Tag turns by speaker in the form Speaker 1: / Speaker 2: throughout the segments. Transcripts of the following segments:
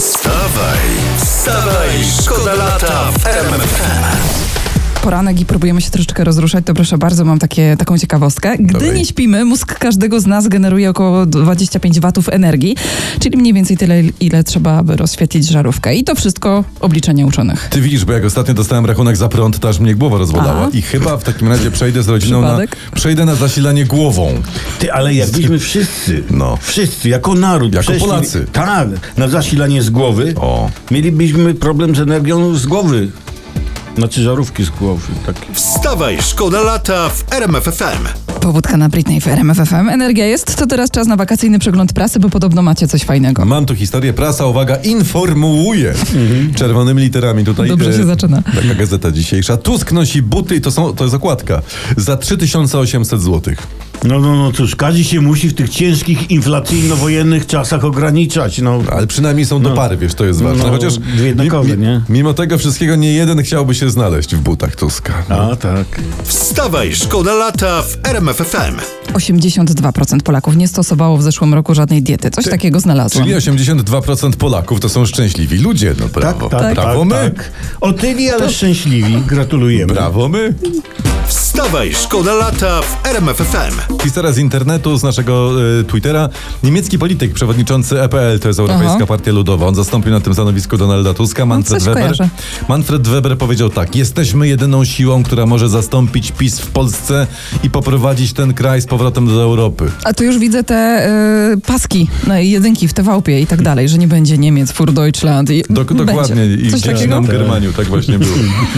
Speaker 1: Wstawaj, wstawaj, szkoda lata w RMFFM.
Speaker 2: poranek i próbujemy się troszeczkę rozruszać, to proszę bardzo, mam takie, taką ciekawostkę. Gdy
Speaker 3: Dawaj.
Speaker 2: nie śpimy, mózg każdego z nas generuje około 25 watów energii, czyli mniej więcej tyle, ile trzeba, aby rozświetlić żarówkę. I to wszystko obliczenie uczonych.
Speaker 3: Ty widzisz, bo jak ostatnio dostałem rachunek za prąd, to aż mnie głowa rozwalała.
Speaker 2: Aha.
Speaker 3: I chyba w takim razie przejdę z rodziną na,
Speaker 2: Przypadek?
Speaker 3: przejdę na zasilanie głową.
Speaker 4: Ty, ale jakbyśmy wszyscy,
Speaker 3: No.
Speaker 4: wszyscy, jako naród,
Speaker 3: Jako Polacy.
Speaker 4: tak, na zasilanie z głowy,
Speaker 3: O.
Speaker 4: mielibyśmy problem z energią z głowy. Znaczy żarówki z głowy. tak. Takie.
Speaker 1: Wstawaj, szkoda lata w RMFFM.
Speaker 2: Powódka na Britney w RMF FM. Energia jest, to teraz czas na wakacyjny przegląd prasy, bo podobno macie coś fajnego.
Speaker 3: Mam tu historię, prasa, uwaga, informuję.
Speaker 4: Mhm.
Speaker 3: Czerwonymi literami tutaj.
Speaker 2: Dobrze
Speaker 3: e,
Speaker 2: się zaczyna.
Speaker 3: Taka gazeta dzisiejsza. Tusk nosi buty i to, są, to jest okładka. Za 3800 zł.
Speaker 4: No, no, no cóż, każdy się musi w tych ciężkich, inflacyjno-wojennych czasach ograniczać. No.
Speaker 3: Ale przynajmniej są do pary, wiesz, to jest ważne.
Speaker 4: No,
Speaker 3: Chociaż
Speaker 4: dwie jednakowe, nie?
Speaker 3: mimo tego wszystkiego nie jeden chciałby się znaleźć w butach Tuska.
Speaker 4: A, tak.
Speaker 1: Wstawaj, szkoda lata w RMFFM.
Speaker 2: 82% Polaków nie stosowało w zeszłym roku żadnej diety. Coś takiego znalazłam.
Speaker 3: Czyli 82% Polaków to są szczęśliwi ludzie.
Speaker 4: Tak,
Speaker 3: No brawo. brawo my.
Speaker 4: Otyli, tak. ale szczęśliwi. Gratulujemy.
Speaker 3: Brawo my.
Speaker 1: Wstawaj, szkoda lata w RMFFM.
Speaker 3: Historia z internetu, z naszego y, Twittera. Niemiecki polityk, przewodniczący EPL, to jest Europejska
Speaker 2: Aha. No,
Speaker 3: Partia Ludowa. On zastąpił na tym stanowisku Donalda Tuska. Manfred
Speaker 2: coś
Speaker 3: Weber.
Speaker 2: kojarzę.
Speaker 3: Manfred Weber powiedział tak: Jesteśmy jedyną siłą, która może zastąpić PiS w Polsce i poprowadzić ten kraj z powrotem do Europy.
Speaker 2: A tu już widzę te y, paski, no, i jedynki w TVP i tak dalej, że nie będzie Niemiec, Fur Deutschland. I
Speaker 3: Dok-
Speaker 2: będzie.
Speaker 3: dokładnie. I
Speaker 2: Coś
Speaker 3: gdzieś
Speaker 2: takiego?
Speaker 3: nam Germaniu, tak właśnie było.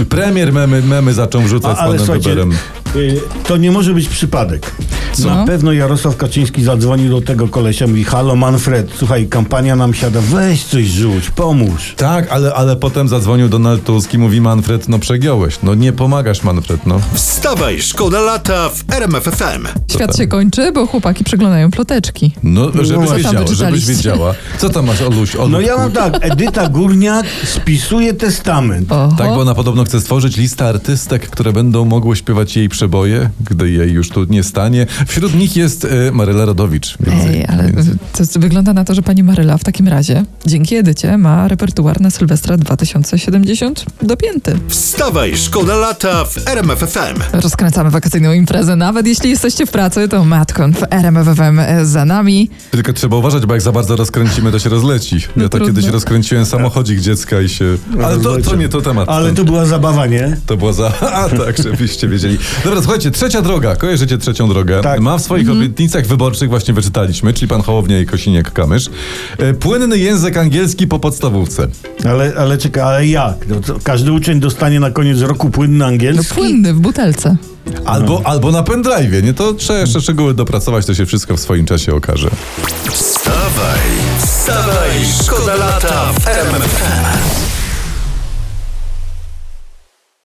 Speaker 3: Premier memy, memy zaczął
Speaker 4: A,
Speaker 3: rzucać
Speaker 4: ale
Speaker 3: z panem
Speaker 4: słuchajcie,
Speaker 3: Weberem.
Speaker 4: y, to nie może być przypadek.
Speaker 2: No.
Speaker 4: Na pewno Jarosław Kaczyński zadzwonił do tego kolesia, mówi halo Manfred, słuchaj, kampania nam siada, weź coś rzuć, pomóż.
Speaker 3: Tak, ale, ale potem zadzwonił Donald Tusk i mówi Manfred, no przegiąłeś. No nie pomagasz Manfred, no.
Speaker 1: Wstawaj, szkoda lata w RMFFM.
Speaker 2: Świat się kończy, bo chłopaki przeglądają ploteczki.
Speaker 3: No, żebyś
Speaker 4: właśnie.
Speaker 3: wiedziała, żebyś
Speaker 2: wyczytaliście?
Speaker 3: wiedziała. Co tam masz, Oluś? Oluś
Speaker 4: No ja mam tak, Edyta Górniak spisuje testament.
Speaker 2: Oho.
Speaker 3: Tak, bo ona podobno chce stworzyć listę artystek, które będą mogły śpiewać jej przeboje, gdy jej już tu nie stanie. Wśród nich jest e, Maryla Rodowicz. Więc-
Speaker 2: Ej, ale
Speaker 3: więc-
Speaker 2: to z- wygląda na to, że pani Maryla w takim razie dzięki Edycie ma repertuar na Sylwestra 2070 dopięty.
Speaker 1: Wstawaj, szkoda lata w RMFFM.
Speaker 2: Rozkręcamy wakacyjną imprezę. Nawet jeśli jesteście w pracy, to Matką w RMWWM za nami.
Speaker 3: Tylko trzeba uważać, bo jak za bardzo rozkręcimy, to się rozleci. Ja tak
Speaker 2: No trudno.
Speaker 3: kiedyś rozkręciłem samochodzik dziecka i się... Ale to, to nie to temat.
Speaker 4: Ale
Speaker 3: ten.
Speaker 4: to była zabawa, nie?
Speaker 3: To była za... A tak, żebyście wiedzieli. Dobra, słuchajcie, trzecia droga. Kojarzycie trzecią drogę.
Speaker 4: Tak.
Speaker 3: Ma w swoich obietnicach wyborczych, właśnie wyczytaliśmy, czyli pan Hołownia i Kosiniak-Kamysz, e, płynny język angielski po podstawówce.
Speaker 4: Ale, ale czekaj, ale jak? No, to każdy uczeń dostanie na koniec roku płynny
Speaker 2: No
Speaker 4: angielski?
Speaker 2: płynny w butelce.
Speaker 3: Albo, albo na pendrive, nie? To trzeba jeszcze szczegóły dopracować, to się wszystko w swoim czasie okaże.
Speaker 1: Wstawaj, wstawaj, szkoda lata w RMFFM.